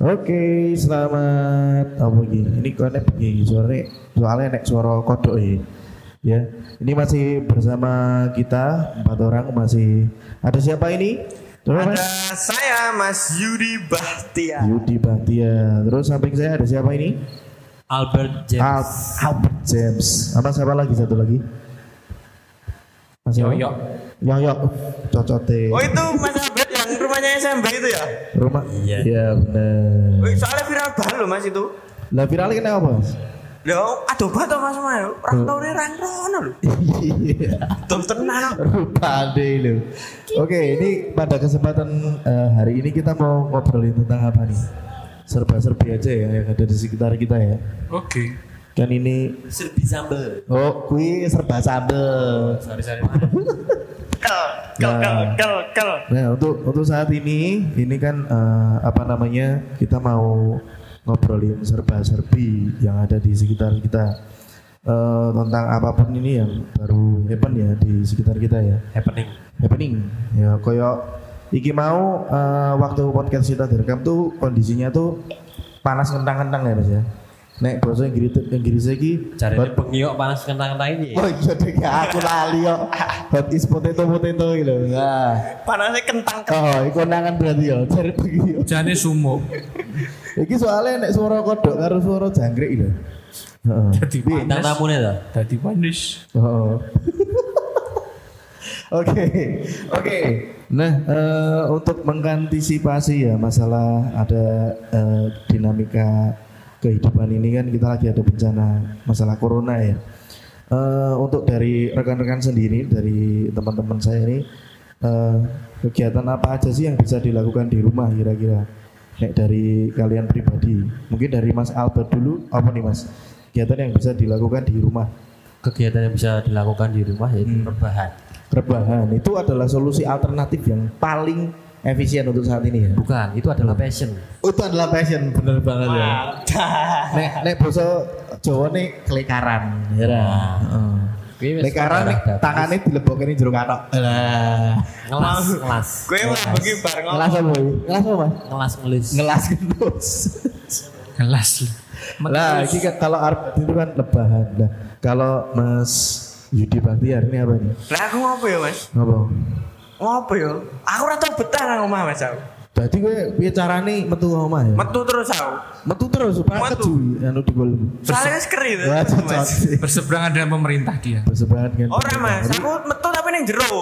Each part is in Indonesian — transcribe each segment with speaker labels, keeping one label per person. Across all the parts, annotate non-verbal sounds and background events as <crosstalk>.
Speaker 1: Oke, selamat apa iki? Ini konek piye sore? Soalnya nek suara kodok ya. Ya. Ini masih bersama kita empat orang masih ada siapa ini? Coba, Mas.
Speaker 2: Ada saya Mas Yudi Bahtia.
Speaker 1: Yudi Bahtia. Terus samping saya ada siapa ini?
Speaker 3: Albert James.
Speaker 2: Ah.
Speaker 1: Al Albert James. Sama siapa lagi satu lagi? Mas
Speaker 3: Yoyo.
Speaker 1: Yoyo. Cocote.
Speaker 2: Oh itu Mas Abed yang rumahnya SMB itu ya?
Speaker 1: Rumah.
Speaker 3: Iya.
Speaker 1: Iya
Speaker 2: Wih,
Speaker 1: benar.
Speaker 2: Soalnya viral banget loh Mas itu.
Speaker 1: Lah viralnya kenapa, Mas?
Speaker 2: Loh, aduh banget Mas Mayo. Orang tau nih orang rono loh.
Speaker 1: Iya.
Speaker 2: Tuh tenang.
Speaker 1: Rupa deh lu. Oke, ini pada kesempatan eh, hari ini kita mau ngobrolin tentang apa nih? Serba-serbi aja ya yang ada di sekitar kita ya.
Speaker 3: Oke.
Speaker 1: Kan ini
Speaker 3: Serbi sambel.
Speaker 1: oh, kui serba sambel.
Speaker 3: Sorry sorry. mana?
Speaker 2: Kel, kel, kel, kel, kel.
Speaker 1: Nah, untuk untuk saat ini ini kan eh, apa namanya? Kita mau ngobrolin serba-serbi yang ada di sekitar kita. Eh, tentang apapun ini yang baru happen ya di sekitar kita ya.
Speaker 3: Happening.
Speaker 1: happening ya koyo iki mau eh, waktu podcast kita direkam tuh kondisinya tuh panas kentang-kentang ya mas ya nek bahasa Inggris Inggris iki
Speaker 3: Caranya
Speaker 1: hot-
Speaker 3: pengiok panas kentang kentang ini.
Speaker 1: oh iya deh ya, aku lali yo hot is potato potato gitu nah
Speaker 2: Panasnya kentang kentang.
Speaker 1: oh iku nangan berarti yo cari pergi yo
Speaker 3: Jane sumo.
Speaker 1: iki soalnya nek suara kodok karo suara jangkrik lho heeh
Speaker 4: Dadi
Speaker 3: Bintang
Speaker 4: panas.
Speaker 3: tamunya tuh.
Speaker 4: Dadi panas.
Speaker 1: Oh. <laughs> Oke, oke. Nah, eh, untuk mengantisipasi ya masalah ada eh, dinamika kehidupan ini kan kita lagi ada bencana masalah corona ya. Eh, untuk dari rekan-rekan sendiri dari teman-teman saya ini eh, kegiatan apa aja sih yang bisa dilakukan di rumah kira-kira? Nek dari kalian pribadi, mungkin dari Mas Albert dulu apa nih Mas? Kegiatan yang bisa dilakukan di rumah?
Speaker 3: Kegiatan yang bisa dilakukan di rumah yaitu rebahan.
Speaker 1: rebahan itu adalah solusi alternatif yang paling efisien untuk saat ini ya.
Speaker 3: Bukan, itu adalah passion.
Speaker 1: Oh, Itu adalah passion bener banget ya. Nek nek basa Jawa nih kelekaran, ya. Ra?
Speaker 3: Nah.
Speaker 1: Heeh. Lekaran nih tangannya dilebokkan ini jeruk katok. Lah.
Speaker 3: ngelas ngelas.
Speaker 2: Gue mau pergi bareng
Speaker 1: Ngelas apa? Bu? Ngelas apa? Mas?
Speaker 3: Ngelas ngelis.
Speaker 1: Ngelas terus.
Speaker 2: <laughs>
Speaker 4: Kelas.
Speaker 1: lah, iki kan kalau arep itu kan lebahan. Lah, kalau Mas Yudi Baktiar ini apa nih?
Speaker 2: Lah aku ngopo ya Mas?
Speaker 1: Ngopo?
Speaker 2: Ngopo ya? Aku ora tau betah nang omah Mas aku.
Speaker 1: Jadi gue piye carane metu omah ya?
Speaker 2: Metu terus aku.
Speaker 1: Metu terus supaya
Speaker 2: Metu.
Speaker 1: keju anu digol.
Speaker 2: Soalnya wis keri tuh,
Speaker 1: Wah,
Speaker 2: Mas.
Speaker 1: cocok.
Speaker 4: Berseberangan dengan pemerintah dia.
Speaker 1: berseberangan dengan
Speaker 2: Ora Mas,
Speaker 1: pemerintah.
Speaker 2: aku metu tapi ning jero.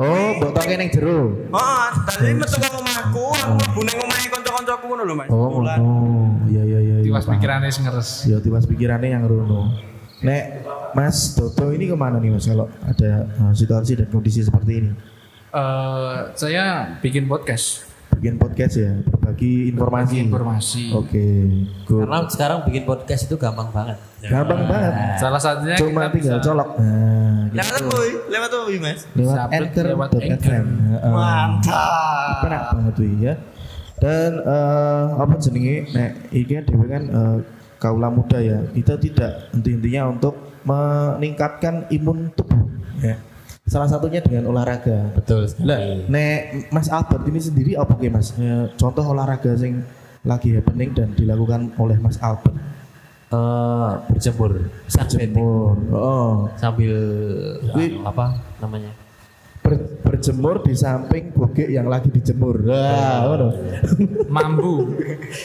Speaker 1: oh mbok toke ning jero
Speaker 2: Oh, tadi metu ke omahku, aku mlebu ning omahe kanca-kancaku ngono lho Mas.
Speaker 1: oh
Speaker 2: Bulan.
Speaker 1: ngono iya iya iya iya,
Speaker 4: Tiwas
Speaker 1: paham.
Speaker 4: pikirannya sing ngeres.
Speaker 1: ya tiwas pikirannya yang rono nek Mas Dodo ini kemana nih Mas kalau ada eh, situasi dan kondisi seperti ini
Speaker 4: Eh, saya bikin podcast,
Speaker 1: bikin podcast ya berbagi informasi
Speaker 4: informasi.
Speaker 1: Iya. oke good
Speaker 3: Karena sekarang bikin podcast itu gampang banget.
Speaker 1: gampang banget
Speaker 4: Salah satunya
Speaker 1: cuma
Speaker 4: kita
Speaker 1: tinggal
Speaker 4: bisa
Speaker 1: colok nah, gitu.
Speaker 2: Lewat apa? Lewat apa Mas?
Speaker 1: lewat
Speaker 4: Upload
Speaker 1: anchor
Speaker 4: lewat
Speaker 1: dot
Speaker 4: Anchor.
Speaker 1: FM. Heeh.
Speaker 2: Mantap.
Speaker 1: penak banget tuh ya dan eh, apa jenenge nek iki kan dhewe kan eh, kaula muda ya kita tidak intinya untuk meningkatkan imun tubuh ya salah satunya dengan olahraga
Speaker 3: Betul
Speaker 1: lah nek Mas Albert ini sendiri apa ke Mas Eh, contoh olahraga sing lagi happening dan dilakukan oleh Mas Albert
Speaker 3: Eh, berjemur, sunbathing
Speaker 1: jemur oh
Speaker 3: sambil anu,
Speaker 1: Wih.
Speaker 3: apa namanya?
Speaker 1: Ber- berjemur di samping bogek yang lagi dijemur Wah, ngono.
Speaker 4: mambu.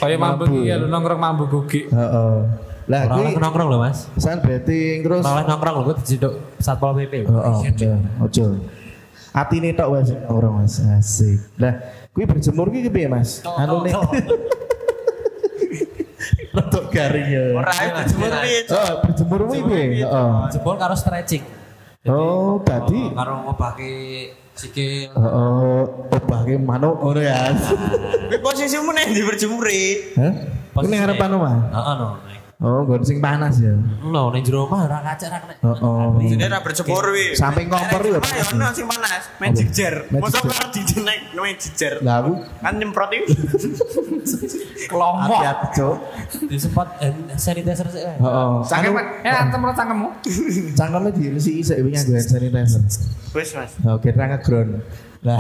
Speaker 4: Kayak mambu iki ya lu nongkrong mambu gogi.
Speaker 1: Heeh. lah
Speaker 3: Orang
Speaker 1: kuwi
Speaker 3: nongkrong loh mas.
Speaker 1: sunbathing terus
Speaker 3: Orang nongkrong loh, gue diciduk satpol pp.
Speaker 1: Oh, oh bener. Ojo. Atine tok wes ora Mas. Asik. Lah, kuwi berjemur kuwi piye, Mas? Anu nih. <laughs> Rodok garing ya.
Speaker 2: Ora
Speaker 3: Iya,
Speaker 2: ae dijemur piye?
Speaker 1: Oh, berjemur kuwi piye? Heeh.
Speaker 3: Jempol karo stretching.
Speaker 1: Oh, tadi
Speaker 3: Karo mau pakai sikil.
Speaker 1: heeh obahke manuk ngono ya.
Speaker 2: Kuwi posisimu nek ndi berjemure?
Speaker 1: Hah? Kuwi ning
Speaker 3: Posisinya.
Speaker 1: harapan omah.
Speaker 3: Heeh no.
Speaker 1: Oh, nggon sing panas ya.
Speaker 3: No, ning jero omah ora kaca ora kena.
Speaker 1: Heeh.
Speaker 2: Jadi ora berjemur kuwi.
Speaker 1: Samping kompor ya,
Speaker 2: Ayo
Speaker 1: Mas.
Speaker 2: ono sing panas, magic jar.
Speaker 1: Magic
Speaker 2: Mosok
Speaker 1: jar.
Speaker 2: ora dijenek magic jar.
Speaker 1: Lah aku
Speaker 2: Kan nyemprot iki.
Speaker 4: Kelompok.
Speaker 1: hati-hati, Cuk.
Speaker 3: Disempat hand sanitizer sih. eh.
Speaker 1: Heeh.
Speaker 4: Sange
Speaker 1: Anu,
Speaker 4: Pak. eh antem lo cangkemmu.
Speaker 1: Cangkeme diresiki sik wingi nggo hand sanitizer.
Speaker 2: Wis Mas.
Speaker 1: Oke, Nah, ra ngeground. Nah,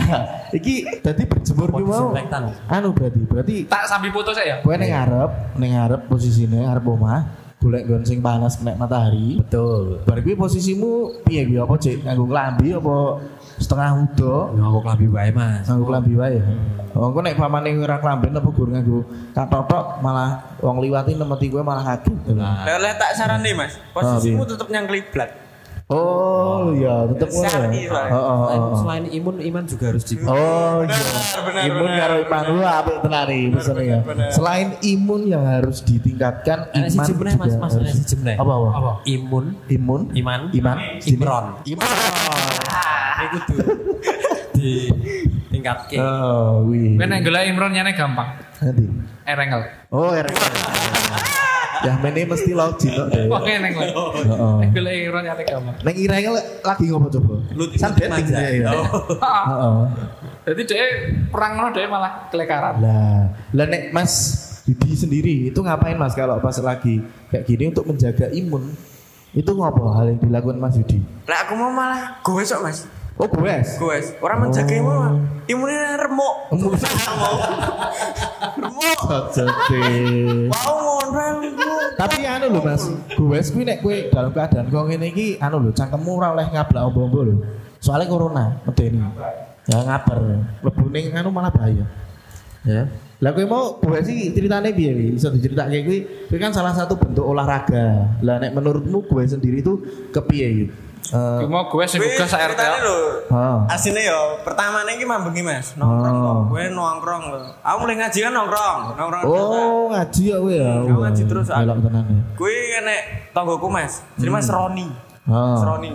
Speaker 1: iki tadi berjemur ki mau.
Speaker 3: Disinfektan.
Speaker 1: Anu berarti, berarti
Speaker 4: Tak sambil foto saya ya.
Speaker 1: kowe ning ngarep, ning ngarep posisine arep omah, golek nggon sing panas kena matahari.
Speaker 3: Betul.
Speaker 1: Bar kuwi posisimu piye kuwi apa cek nganggo klambi apa setengah udo?
Speaker 3: Nganggo klambi wae, Mas.
Speaker 1: Nganggo klambi wae. Oh, engko nek pamane kowe ora klamben apa gur nganggo katotok malah wong liwati nemeti kowe malah kaget.
Speaker 2: Lah lah tak saran nih Mas, posisimu tetep nyang kliblat.
Speaker 1: Oh, iya, tetep ngono. ya.
Speaker 2: Syari, Pak.
Speaker 1: Oh, oh,
Speaker 3: Selain-
Speaker 1: oh.
Speaker 3: Selain imun, iman juga harus di
Speaker 1: Oh iya.
Speaker 2: Benar, benar,
Speaker 1: imun
Speaker 2: benar,
Speaker 1: karo iman lu apik tenan iki pesene ya. Selain imun yang harus ditingkatkan
Speaker 3: Enak siji
Speaker 1: iman
Speaker 3: meneh,
Speaker 1: juga
Speaker 3: Mas, Mas,
Speaker 1: harus-
Speaker 3: enak siji meneh.
Speaker 1: Apa apa?
Speaker 4: Apa?
Speaker 3: imun,
Speaker 1: Imun,
Speaker 3: iman,
Speaker 1: iman, sini.
Speaker 3: imron. Iku
Speaker 1: <laughs>
Speaker 3: tuh di tingkat K.
Speaker 1: Oh, wih.
Speaker 4: Kan yang gelai Imron nyane gampang. Eh,
Speaker 1: Nanti.
Speaker 4: Erengel.
Speaker 1: Oh, erek. Dah Ya, mene mesti laut jino deh.
Speaker 4: Wah neng lagi.
Speaker 1: Oh. Heeh.
Speaker 4: Yang gelai Imron nyane gampang.
Speaker 1: Neng irenge lagi ngopo coba?
Speaker 2: Luti-
Speaker 1: San
Speaker 2: luti
Speaker 1: betting
Speaker 2: manja.
Speaker 1: dia ya.
Speaker 3: Oh.
Speaker 4: Ah,
Speaker 1: Heeh.
Speaker 4: Jadi dia perang ngono dia malah kelekaran.
Speaker 1: Lah, lah nek Mas Yudi sendiri itu ngapain Mas kalau pas lagi kayak gini untuk menjaga imun? Itu ngopo hal yang dilakukan Mas Yudi?
Speaker 2: Lah aku mau malah goes kok Mas.
Speaker 1: Oh, goes.
Speaker 2: Goes. Orang menjaga imun. Mas. Imunnya remuk.
Speaker 1: Remuk.
Speaker 2: Mau. Remuk.
Speaker 1: Jadi.
Speaker 2: Mau ngono aku.
Speaker 1: Tapi anu lho Mas, goes kuwi nek kowe dalam keadaan kok ngene iki anu lho cangkemmu ora oleh ngablak ombo-ombo lho. Soalnya corona medeni. Ya ngabar. Lebu ning anu malah bahaya. Ya. Lah kowe mau goes iki ceritane piye iki? Bisa diceritake kuwi kuwi kan salah satu bentuk olahraga. Lah nek menurutmu goes sendiri itu kepiye iki? Eh,
Speaker 4: Cuma gue sih
Speaker 2: Wih,
Speaker 4: buka sa
Speaker 2: ceritanya
Speaker 4: RT.
Speaker 2: lho.
Speaker 1: Ah.
Speaker 2: Asine yo, pertama iki mambengi Mas. Nongkrong.
Speaker 1: Ah.
Speaker 2: kok. Gue nongkrong. kok. Aku mulai ngaji kan nongkrong. Nongkrong.
Speaker 1: oh, ngaji ya kowe ya.
Speaker 2: Aku ngaji terus, aku.
Speaker 1: Elok tenan ya.
Speaker 2: Gue kene tonggoku Mas. Jadi Mas Roni.
Speaker 1: Ah.
Speaker 2: Mas Roni.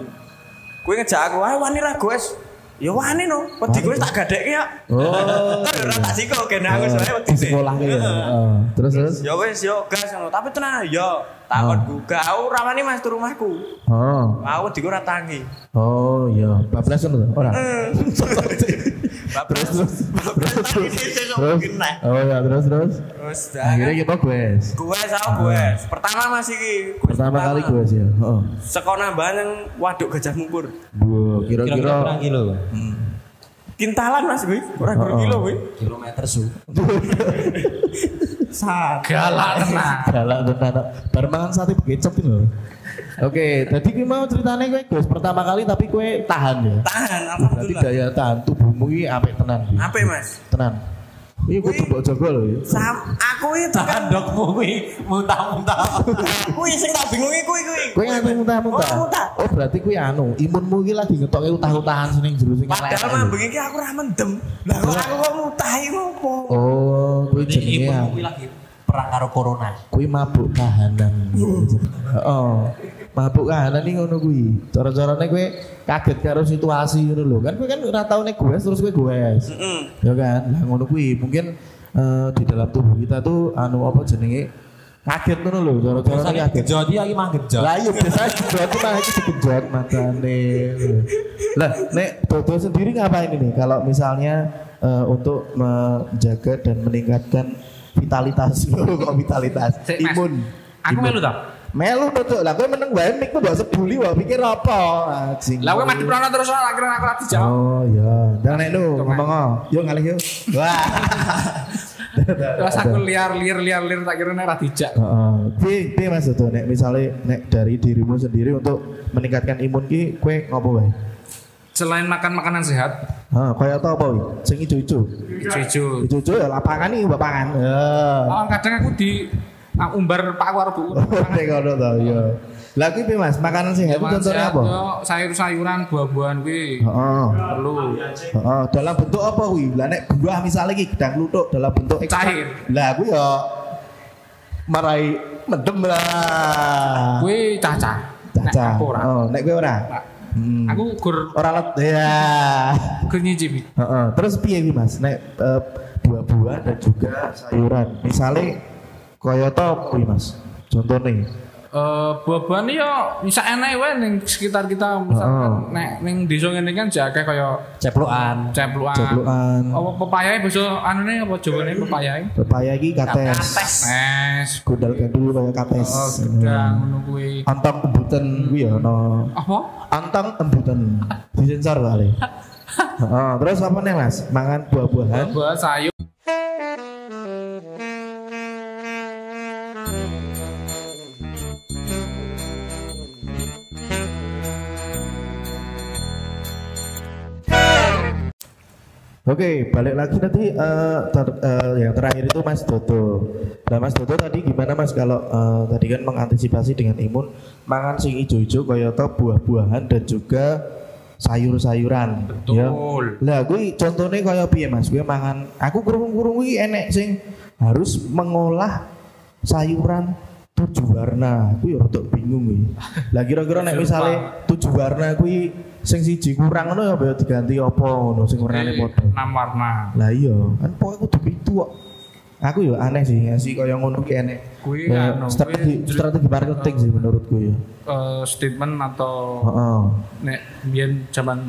Speaker 2: Gue ngejak aku, "Ah, wani ra goes." Ya wani no. Wedi gue tak gadekke ya.
Speaker 1: Oh.
Speaker 2: Kan <laughs> ora tak siko kene aku soalnya
Speaker 1: Di
Speaker 2: wedi.
Speaker 1: sekolah ya.
Speaker 2: Heeh.
Speaker 1: Heeh. Terus terus.
Speaker 2: Ya wis yo gas ngono. Tapi tenan yo takon gak aku ora wani Mas turu rumahku.
Speaker 1: Oh.
Speaker 2: Aku wedi gue ora tangi.
Speaker 1: Oh iya, bablasan lho, ora.
Speaker 2: Terus terus
Speaker 1: Terus. Oh iya, terus terus.
Speaker 2: Terus
Speaker 1: Akhirnya kita gue.
Speaker 2: gue sama gue pertama masih iki Gue
Speaker 1: Pertama kali ya. Oh. gue sih. Heeh.
Speaker 2: seko nambahan yang waduk gajah mumpur
Speaker 1: Bu,
Speaker 3: Kira-kira
Speaker 1: kira-kira
Speaker 3: berapa kilo?
Speaker 2: kintalan mas gue orang
Speaker 1: Oh,
Speaker 2: gue
Speaker 1: oh.
Speaker 2: kilo gue
Speaker 3: Kilometer su.
Speaker 2: saat
Speaker 4: Galak
Speaker 1: Iya.
Speaker 4: tenang.
Speaker 1: galak tenan. Bar mangan sate kecap lho. Oke, tadi gue mau ceritanya gue gue pertama kali tapi gue tahan ya.
Speaker 2: tahan
Speaker 1: Berarti
Speaker 2: alhamdulillah
Speaker 1: daya tahan tubuhmu ini apik tenan. Bi.
Speaker 2: apa mas
Speaker 1: Tenan. Iya, gue coba jaga lho. ya.
Speaker 2: Sam, aku itu kan
Speaker 3: Dokmu kuwi muntah-muntah.
Speaker 2: aku yang sing tak bingung gue gue
Speaker 1: Gue nganti anu, muntah-muntah.
Speaker 2: Oh, muntah.
Speaker 1: Oh, berarti gue anu, imunmu ini lagi ngetoke utah-utahan sing jero sing
Speaker 2: padahal
Speaker 1: elek-elek.
Speaker 2: mambeng iki aku ora mendem lah kok aku kok mutah iki ngopo
Speaker 1: Oh, gue
Speaker 3: Jadi
Speaker 1: jenenge
Speaker 3: imun kuwi lagi perang karo corona.
Speaker 1: kuwi mabuk kahanan. Heeh. Mabuk kahanan iki ngono kuwi. Cara-carane kowe kaget karo situasi ngono lho. Kan kowe kan ora tau nek goes terus kowe goes.
Speaker 2: Mm.
Speaker 1: Ya kan? Lah ngono kuwi mungkin eh, di dalam tubuh kita tuh anu apa jenenge kaget ngono lho, cara-carane
Speaker 3: Biasanya
Speaker 1: kaget.
Speaker 3: gejot iki mang gejot.
Speaker 1: Lah iya biasanya berarti mah iki dikejot matane. Lah nek Dodo sendiri ngapain ini kalau misalnya eh, untuk menjaga dan meningkatkan vitalitas <laughs> kok vitalitas
Speaker 4: Cek, Mas.
Speaker 1: imun.
Speaker 4: Aku
Speaker 1: Imun.
Speaker 4: melu tak.
Speaker 1: Melu Dodo. Lah kowe meneng wae mik mbok sebuli wae pikir apa? Anjing.
Speaker 4: Lah gue mati prono terus ora akhirnya aku lagi jawab.
Speaker 1: Oh iya, ndang nek lu ngomong oh. Yo ngalih yo. Wah.
Speaker 4: <laughs> Terus aku liar liar liar liar tak kira nek ora dijak.
Speaker 1: Heeh. Piye piye Mas Dodo nek misale nek dari dirimu sendiri untuk meningkatkan imun ki kowe ngopo wae?
Speaker 4: Selain makan makanan sehat,
Speaker 1: Ah, kaya tau apa wi? Sing ijo-ijo.
Speaker 4: jujur.
Speaker 1: Ijo-ijo ya lapangan iki lapangan. Ya.
Speaker 4: Oh, kadang aku di aku umbar Pak Warbu.
Speaker 1: <laughs> Nek ngono ta ya. Lah kuwi piye Mas? Makanan sehat itu contohnya apa?
Speaker 4: Sayur-sayuran, buah-buahan kuwi.
Speaker 1: Heeh.
Speaker 4: Perlu.
Speaker 1: Heeh, dalam bentuk apa kuwi? Lah nek buah misalnya iki gedang kluthuk dalam bentuk ekstrak.
Speaker 4: Cair.
Speaker 1: Lah kuwi ya marai mendem lah.
Speaker 4: Kuwi cacah. Nek
Speaker 1: Caca.
Speaker 4: Aku ora.
Speaker 1: Oh, nek kowe ora.
Speaker 4: Ora.
Speaker 1: Hmm.
Speaker 4: Aku gur
Speaker 1: Ora let ya.
Speaker 4: gur nyicipi.
Speaker 1: Heeh. Terus piye kuwi Mas? Nek eh, buah-buahan dan juga sayuran. Misalnya kaya apa kuwi Mas? Contohnya
Speaker 4: Eh buah-buahan iki yo bisa enak wae ning sekitar kita
Speaker 1: Oh.
Speaker 4: misalkan nek ning desa ngene kan jake kaya
Speaker 3: Ceplokan.
Speaker 4: cepluan.
Speaker 1: Ceplukan.
Speaker 4: Apa pepayae bisa anune apa jawane pepayae?
Speaker 1: Pepaya iki kates.
Speaker 4: Nes.
Speaker 1: Gundal gandul kaya kates.
Speaker 4: Oh, gedang ngono kuwi.
Speaker 1: Antang embutan kuwi ya ono.
Speaker 4: Apa?
Speaker 1: Antang embutan disensor kali. Heeh, terus apa nih Mas? Mangan buah-buahan.
Speaker 4: buah sayur
Speaker 1: Oke, balik lagi nanti eh, ter- eh, yang terakhir itu Mas Dodo. Nah, Mas Dodo tadi gimana Mas kalau eh, tadi kan mengantisipasi dengan imun mangan sing ijo-ijo kayata buah-buahan dan juga sayur-sayuran. Ya.
Speaker 4: Betul.
Speaker 1: Lah, kuwi contohnya kaya piye Mas? Gue mangan aku kurung-kurung kuwi enek sing harus mengolah sayuran tujuh warna. Kuwi rada bingung kuwi. Lah kira-kira nek misalnya tujuh warna kuwi sing siji kurang ngono ya apa ya diganti apa ngono sing warnane padha.
Speaker 4: enam warna
Speaker 1: Lah iya, kan pokoknya kudu pitu kok. Aku ya aneh sih, sih kaya ngono ki enek.
Speaker 4: Kuwi
Speaker 1: Ya,
Speaker 4: anu,
Speaker 1: strategi
Speaker 4: kuwi jel-
Speaker 1: strategi marketing sih menurutku ya.
Speaker 4: eh, statement atau
Speaker 1: Heeh.
Speaker 4: nek biyen zaman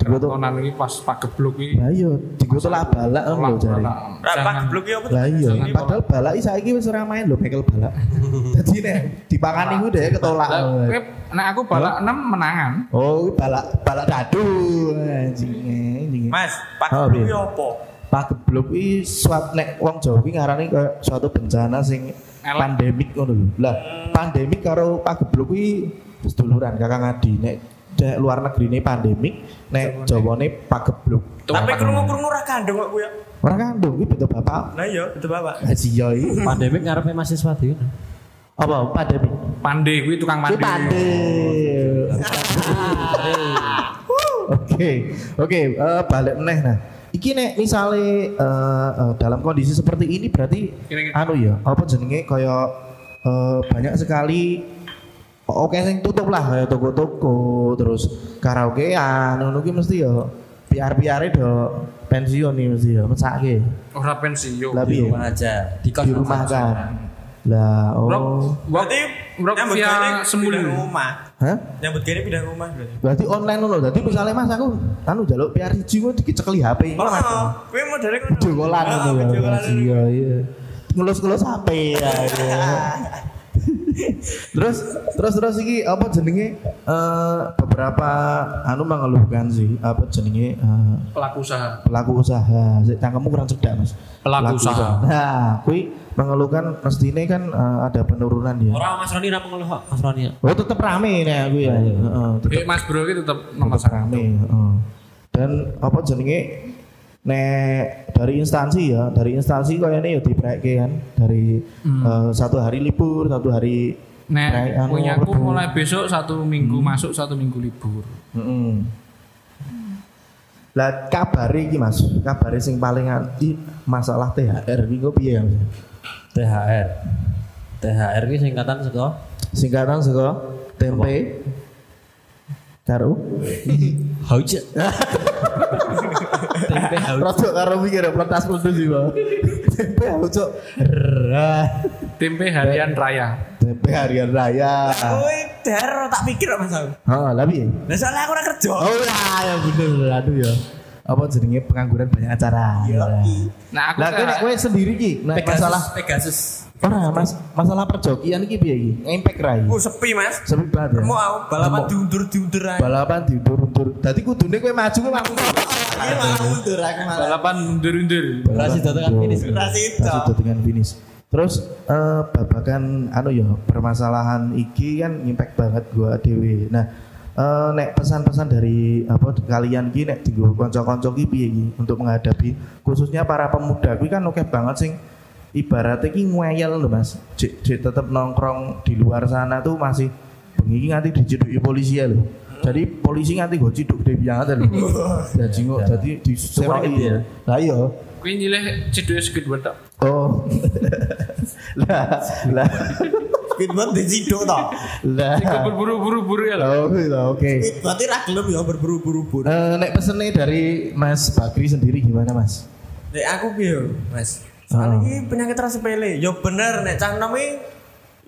Speaker 1: Dulu tuh-
Speaker 4: Tonal ini pas pakai blok ini
Speaker 1: Lah iya, digo telak balak kan lho jare.
Speaker 2: Rapat blok ya apa?
Speaker 1: Lah iya,
Speaker 4: Jangan
Speaker 1: padahal balak iki saiki wis ora main lho bekel balak. <laughs> Dadi nek dipakani ku dhek ketolak.
Speaker 4: Nah aku balak 6 menangan
Speaker 1: Oh, iki balak balak dadu anjing anjing.
Speaker 2: Mas, pak
Speaker 1: Oh,
Speaker 2: blok
Speaker 1: iya.
Speaker 2: ya apa?
Speaker 1: Pageblok iki suat nek wong Jawa iki ngarani kaya suatu bencana sing
Speaker 4: Elek.
Speaker 1: pandemik ngono lho. Lah, pandemik karo pageblok kuwi seduluran Kakang Adi nek nek luar negeri ini pandemik nek Jawane pageblok.
Speaker 2: Tapi krungu-krungu ra kandung kok kuwi. ya.
Speaker 1: Ora kandung iki beda bapak.
Speaker 2: Nah iya, itu Bapak.
Speaker 1: Haji Yoi.
Speaker 3: Pandemik ngarepe mahasiswa di ini.
Speaker 1: Apa pandemik?
Speaker 4: Pande kuwi tukang mandi
Speaker 1: Oke, oke, eh, balik meneh nah. Iki nek misale eh, eh, dalam kondisi seperti ini berarti
Speaker 4: Kira-kira.
Speaker 1: anu ya, apa jenenge kaya eh, banyak sekali oke sing tutup lah kaya toko-toko terus karaokean ngono ki mesti ya PR-PR do pensiun nih mesti ya mesake.
Speaker 4: Ora pensiun
Speaker 1: Lah piye?
Speaker 3: aja. Iya. Di kos
Speaker 1: Dirumahkan. Lah
Speaker 4: Brok,
Speaker 1: oh.
Speaker 4: brok,
Speaker 2: Berarti
Speaker 4: brok
Speaker 2: nyambut
Speaker 4: via
Speaker 2: gawe
Speaker 4: sembuli.
Speaker 2: pindah rumah.
Speaker 1: Hah?
Speaker 2: Nyambut gawe pindah rumah berarti.
Speaker 1: Berarti online loh. Jadi misalnya Mas aku anu jaluk PR siji kok dicekeli HP.
Speaker 2: Oh, kuwi modele ngono.
Speaker 1: Jogolan
Speaker 2: Oh,
Speaker 1: ngono ya.
Speaker 2: jogolan
Speaker 1: Mas. Iya, iya. Ngelus-ngelus HP ya. iya.
Speaker 4: <laughs>
Speaker 1: terus terus terus iki apa jenenge eh, beberapa anu mengeluhkan sih apa jenenge eh,
Speaker 4: pelaku usaha
Speaker 1: pelaku usaha. Sik cangkemmu kurang cedak, Mas.
Speaker 4: Pelaku usaha.
Speaker 1: Nah, kuwi mengeluhkan mestine kan eh, ada penurunan ya.
Speaker 3: Orang Mas Roni ra mengeluh kok, Mas Roni.
Speaker 1: Oh, tetep rame nih aku
Speaker 4: Iya,
Speaker 1: ya. Heeh, tetep
Speaker 4: Eh, Mas Bro itu tetap nomor
Speaker 1: Tetep
Speaker 4: satu
Speaker 1: rame, heeh. Dan apa jenenge nek dari instansi ya, dari instansi kayaknya ya dipreke kan dari eh, satu hari libur, satu hari prek,
Speaker 4: Nek
Speaker 1: anu, Hmm.
Speaker 4: punya aku
Speaker 1: rebu.
Speaker 4: mulai besok satu minggu masuk satu minggu libur
Speaker 1: Heeh. Lah kabare iki Mas, kabare sing paling anti masalah THR iki kok piye ya? Mas?
Speaker 3: THR. THR ini singkatan saka
Speaker 1: Singkatan saka tempe karo
Speaker 3: <laughs> Haujet. Tempe haujet.
Speaker 1: Rojo karo mikir pentas mundus iki, Pak. Tempe rojo.
Speaker 4: Tempe harian raya
Speaker 1: Tempe harian raya.
Speaker 2: Kuwi dar tak pikir kok Mas. aku.
Speaker 1: Heeh, lah piye?
Speaker 2: Lah soalnya aku ora kerja.
Speaker 1: Oh lah, ya bener, aduh ya. Apa jenenge pengangguran banyak acara. Ya.
Speaker 4: Nah aku
Speaker 1: Lah kan
Speaker 4: kayak-
Speaker 1: kowe sendiri ki, nah, masalah
Speaker 2: Pegasus.
Speaker 1: ora mas, masalah perjokian iki piye iki? Impact rai.
Speaker 2: Ku Oh, sepi Mas.
Speaker 1: Sepi banget ya.
Speaker 2: Mau aku balapan
Speaker 1: Mau.
Speaker 2: diundur-diundur aja.
Speaker 1: Balapan diundur-undur. Dadi kudune kowe maju kowe aku.
Speaker 2: Iya, aku mundur aku malah.
Speaker 4: balapan mundur-mundur
Speaker 3: Rasi dadakan finish.
Speaker 2: Rasi itu.
Speaker 1: Rasido dengan finish. Terus eh, babakan anu ya permasalahan iki kan impact banget gua dewe. Nah, eh, nek pesan-pesan dari apa kalian ki nek dienggo kanca-kanca ki piye ki untuk menghadapi khususnya para pemuda kuwi kan oke banget sing ibaratnya ki ngweyel lho Mas. Jek jek tetep nongkrong di luar sana tuh masih bengi ki nganti dicidhuki polisi ya lho. Jadi polisi nganti go ciduk gede banget lho. Jadi kok jadi
Speaker 3: Sewakin
Speaker 1: disewakin.
Speaker 3: ya.
Speaker 1: Lah iya.
Speaker 4: Kuwi nyilih cedhek Squidward tok.
Speaker 1: Oh. <laughs> lah, lah,
Speaker 2: Speedboat di Cido toh.
Speaker 1: lah.
Speaker 4: Berburu-buru-buru ya
Speaker 1: Oh,
Speaker 4: lro.
Speaker 1: iya, oke.
Speaker 2: Berarti ra gelem ya berburu-buru-buru.
Speaker 1: Eh, nek pesene dari Mas Bakri sendiri gimana, Mas?
Speaker 2: Nek aku piye, Mas? Soalnya ini penyakit rasa pele. Ya bener nek cah nom iki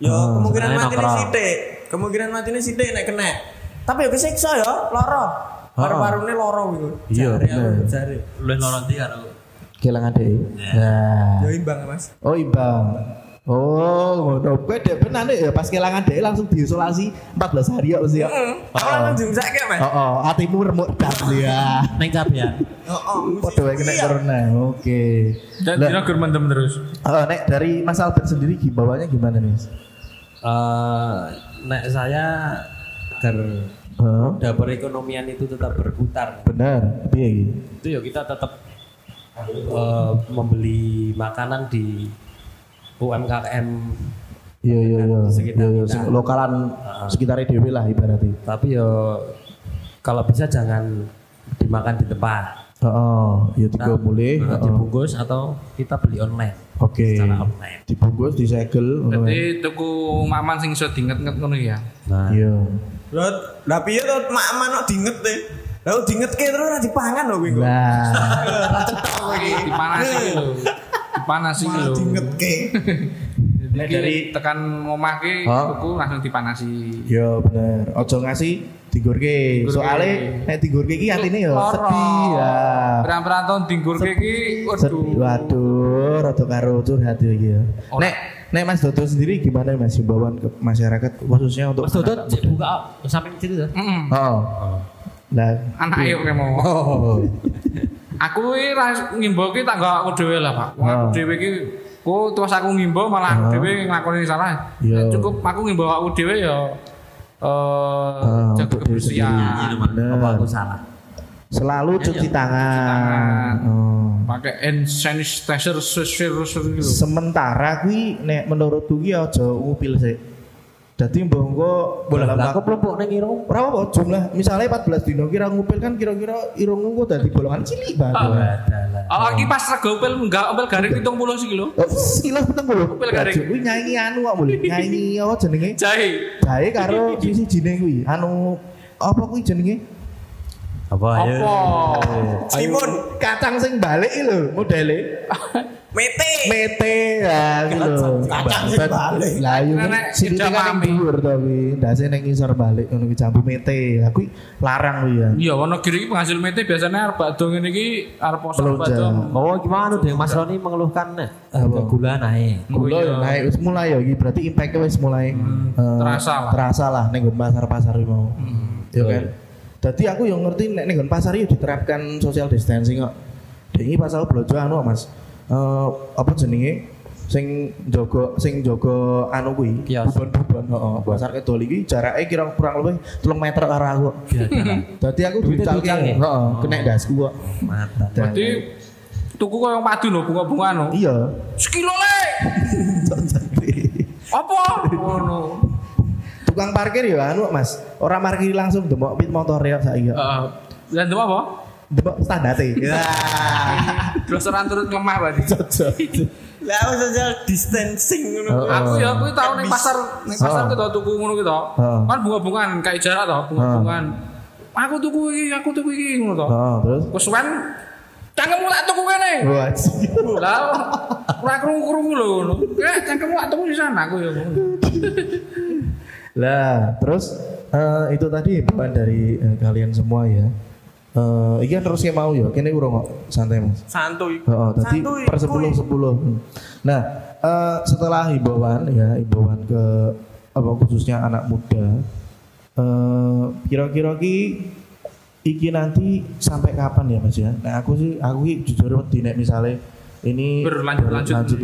Speaker 2: ya kemungkinan
Speaker 3: sebenarnya
Speaker 2: matine
Speaker 3: nongkrong.
Speaker 2: sithik. Kemungkinan matine sithik nek kena. Tapi ya kesiksa ya, lara. Paru-parune lara iku.
Speaker 1: Iya,
Speaker 2: Jari aku,
Speaker 1: bener.
Speaker 2: Jari.
Speaker 3: Lu lorong di karo
Speaker 1: Kelangan deh. Nah.
Speaker 2: Ya imbang, Mas.
Speaker 1: Oh, Ibang. Oh, ngono. Kowe dek penan ya pas kelangan dek langsung diisolasi 14 hari ya mesti ya.
Speaker 2: Kalau
Speaker 1: Heeh.
Speaker 2: nang Hmm, jumsak ya mas.
Speaker 1: Heeh, atimu remuk dak ya.
Speaker 3: Neng cabean.
Speaker 2: Oh,
Speaker 1: Padha wae kena corona. Oke.
Speaker 4: Dan
Speaker 1: Lah,
Speaker 4: dino gur mendem terus.
Speaker 1: eh, nek dari Mas Albert sendiri gimana gimana nih?
Speaker 3: Eh, nek saya agar
Speaker 1: Heeh.
Speaker 3: roda perekonomian itu tetap berputar.
Speaker 1: Benar, piye iki?
Speaker 3: Itu ya kita tetap eh, membeli makanan di UMKM
Speaker 1: Iya iya iya.
Speaker 3: Sekitar
Speaker 1: Iya iya,
Speaker 3: kita.
Speaker 1: sing lokalan sekitarnya dhewe lah ibaratnya.
Speaker 3: tapi yo kalau bisa jangan dimakan di depan.
Speaker 1: Heeh, ya tiga mulai.
Speaker 3: Nah,
Speaker 1: heeh.
Speaker 3: dibungkus atau kita beli online
Speaker 1: Oke.
Speaker 3: secara online.
Speaker 1: Dibungkus, disegel, ngono ya.
Speaker 4: Jadi tuku maman sing iso diinget-inget ngono ya.
Speaker 3: Nah,
Speaker 1: Iya.
Speaker 2: Lho, lah piye to mak mano dinget e. Lah dingetke terus ora dipangan lho kowe engko.
Speaker 1: Nah,
Speaker 4: Dipanasi iki lho. Dipanasi iki
Speaker 2: Malah
Speaker 4: lho.
Speaker 2: dingetke.
Speaker 4: Jadi dari tekan omah ki
Speaker 1: Hah?
Speaker 4: tuku langsung dipanasi.
Speaker 1: Iya bener. Ojo ngasih digurke.
Speaker 4: Digurke.
Speaker 1: Soale nek digurke iki atine ya
Speaker 4: Loro.
Speaker 1: sedih ya.
Speaker 4: Perang-perang tahun dinggurke iki
Speaker 1: Sedih.
Speaker 4: waduh.
Speaker 1: Waduh, rada karo curhat ya iki ya.
Speaker 4: Ora.
Speaker 1: Nek nek Mas Dodo sendiri gimana Mas himbauan ke masyarakat khususnya untuk
Speaker 3: Mas Dodot cek buka samping situ tuh.
Speaker 4: Heeh.
Speaker 1: Oh. Lah
Speaker 4: Anak ayo kemo.
Speaker 1: <laughs> Oh.
Speaker 4: Aku iki ra ngimbau ki tak nggak aku dhewe lah, Pak. Wong aku
Speaker 1: Ah.
Speaker 4: dhewe ki ku terus aku ngimbau malah aku
Speaker 1: Ah.
Speaker 4: dhewe nglakoni salah.
Speaker 1: Iya.
Speaker 4: Cukup aku ngimbau aku dhewe ya eh
Speaker 1: Ah,
Speaker 4: jaga
Speaker 1: untuk diri sendiri.
Speaker 3: Ini,
Speaker 4: kebersihan.
Speaker 3: Mas.
Speaker 1: bener.
Speaker 3: Apa aku salah?
Speaker 1: selalu cuci tangan.
Speaker 4: tangan.
Speaker 1: Oh.
Speaker 4: pakai hand sanitizer sisir sisir gitu
Speaker 1: Sementara kuwi nek menurutku ki aja ngupil sik. Dadi mbok engko dalam
Speaker 3: Lah,
Speaker 1: waktu-
Speaker 3: aku pelupuk ning irung.
Speaker 1: Ora apa jumlah misalnya 14 dino kira ngupil kan kira-kira irungmu kok dadi bolongan cilik
Speaker 4: Ah,
Speaker 1: banget.
Speaker 3: Adalah.
Speaker 4: Oh,
Speaker 1: Ah.
Speaker 4: iki pas rego pel enggak pel garing 70 sih lho.
Speaker 1: Oh, sekilas peteng lho.
Speaker 4: Ngupil garing.
Speaker 1: Kuwi nyanyi anu kok boleh nyanyi apa jenenge?
Speaker 4: Jahe.
Speaker 1: Jae karo sisi jine kuwi. Anu apa kuwi jenenge?
Speaker 3: Apa ya?
Speaker 4: Apa?
Speaker 2: Timun
Speaker 1: Kacang sing balik iki lho modele.
Speaker 2: mete.
Speaker 1: Mete ya iki lho.
Speaker 2: Kacang sing balik.
Speaker 1: Lah yo
Speaker 4: Nenek
Speaker 1: sini
Speaker 4: kerja
Speaker 1: kan
Speaker 4: mami.
Speaker 1: ning dhuwur to kuwi. Ndase ning ngisor balik ngono kuwi jambu mete. Lah kuwi larang kuwi ya.
Speaker 4: Iya, wono kiri iki penghasil mete biasanya arep bakdo ngene iki arep poso
Speaker 1: Melonjak.
Speaker 4: bakdo.
Speaker 3: Oh, gimana deh Mas Roni mengeluhkan eh,
Speaker 1: Apa?
Speaker 3: gula naik.
Speaker 1: Gula
Speaker 4: Iya. Hmm,
Speaker 1: ya naik wis mulai ya iki berarti impact-nya wis mulai eh,
Speaker 4: terasa lah. Hmm.
Speaker 1: Terasa lah ning nggon pasar-pasar iki mau. Ya kan. Dadi aku yang ngerti nek ning nggon pasar iki diterapkan social distancing kok. Dek iki pas aku blojo anu kok, Mas. Eh apa jenenge? sing jaga sing jaga anu kuwi
Speaker 3: Kios.
Speaker 1: bubon-bubon heeh pasar kedol iki jarake kira kurang luwih 3 meter karo aku kok. dadi aku
Speaker 3: Duitnya
Speaker 1: diucalke
Speaker 3: diucalke?
Speaker 1: heeh kena dasku kok
Speaker 3: Mata.
Speaker 4: Jadi tuku koyo padu lho bunga-bunga no.
Speaker 1: iya
Speaker 4: <laughs> Sekilo le. Apa?
Speaker 1: <laughs>
Speaker 4: Ngono.
Speaker 1: tukang parkir ya anu mas orang parkir langsung demok pit motor ya saiki kok.
Speaker 4: Heeh. Lan demo Eh, apa?
Speaker 1: Depok standarte. Ya.
Speaker 4: Terus orang turut lemah berarti.
Speaker 2: Lah aku social distancing
Speaker 1: Oh,
Speaker 2: ngono.
Speaker 1: oh.
Speaker 4: <laughs> Aku ya aku tau ning pasar ning pasar
Speaker 1: Oh.
Speaker 4: kita tuku ngono kita.
Speaker 1: Oh.
Speaker 4: Kan bunga-bungaan kayak jarak
Speaker 1: Ah.
Speaker 4: toh, bunga-bungaan. Aku tuku iki, aku tuku iki ngono toh.
Speaker 1: Oh, terus.
Speaker 4: Wes wen cangkemmu tak tuku kene.
Speaker 1: Wah, c-
Speaker 4: Lah ora krungu-krungu lho ngono. Ya cangkemmu tak tuku di sana aku ya ngono.
Speaker 1: Lah, terus eh, itu tadi bukan dari eh, kalian semua ya. Eh, iki kan terus yang mau ya. Kene urung kok santai Mas.
Speaker 2: Santuy.
Speaker 1: Heeh, Oh, tadi
Speaker 2: Santuy,
Speaker 1: per 10 10. Hmm. Nah, eh, setelah himbauan ya, himbauan ke apa khususnya anak muda. eh, kira-kira ki iki nanti sampai kapan ya Mas ya? Nah, aku sih aku ki jujur wedi nek misale ini
Speaker 4: Berlanjut-lanjut. Hmm.
Speaker 1: lanjut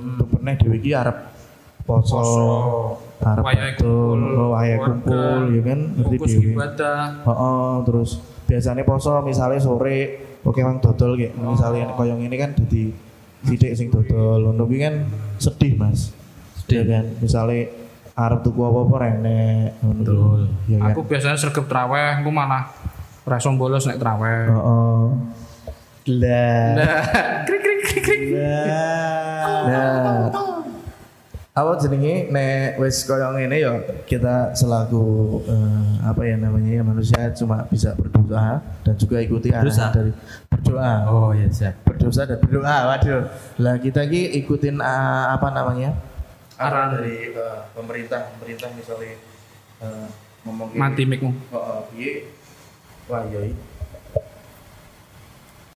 Speaker 1: lanjut pernah dewe iki arep poso, arep
Speaker 4: Wayahe
Speaker 1: betul, oh,
Speaker 4: kumpul,
Speaker 1: wayahe kumpul
Speaker 4: keluarga,
Speaker 1: ya kan ngerti
Speaker 4: Fokus
Speaker 1: dhewe.
Speaker 4: ibadah.
Speaker 1: Heeh, terus biasanya poso misalnya sore oke mang dodol kayak misalnya koyong ini kan jadi sidik sing dodol ngono kuwi kan sedih mas sedih kan misalnya arep tuku apa-apa renek ngono
Speaker 3: Betul.
Speaker 1: ya kan
Speaker 4: Aku biasanya sergap traweh, aku malah rasom bolos naik traweh.
Speaker 1: heeh lah Ah.
Speaker 4: <laughs> Krik krik krik krik.
Speaker 1: Nah, apa jenenge nek wis koyo ngene ya kita selaku eh, apa ya namanya ya manusia cuma bisa berdoa dan juga ikuti arahan
Speaker 3: Berdosa.
Speaker 1: dari berdoa.
Speaker 3: Oh, iya siap.
Speaker 1: Berdosa dan berdoa. Waduh. Lah kita ki ikutin eh, apa namanya?
Speaker 4: Arahan.
Speaker 1: dari eh, pemerintah, pemerintah misalnya eh, ngomong gini,
Speaker 4: Mati mikmu.
Speaker 1: Oh, oh, piye? Wah, yoi.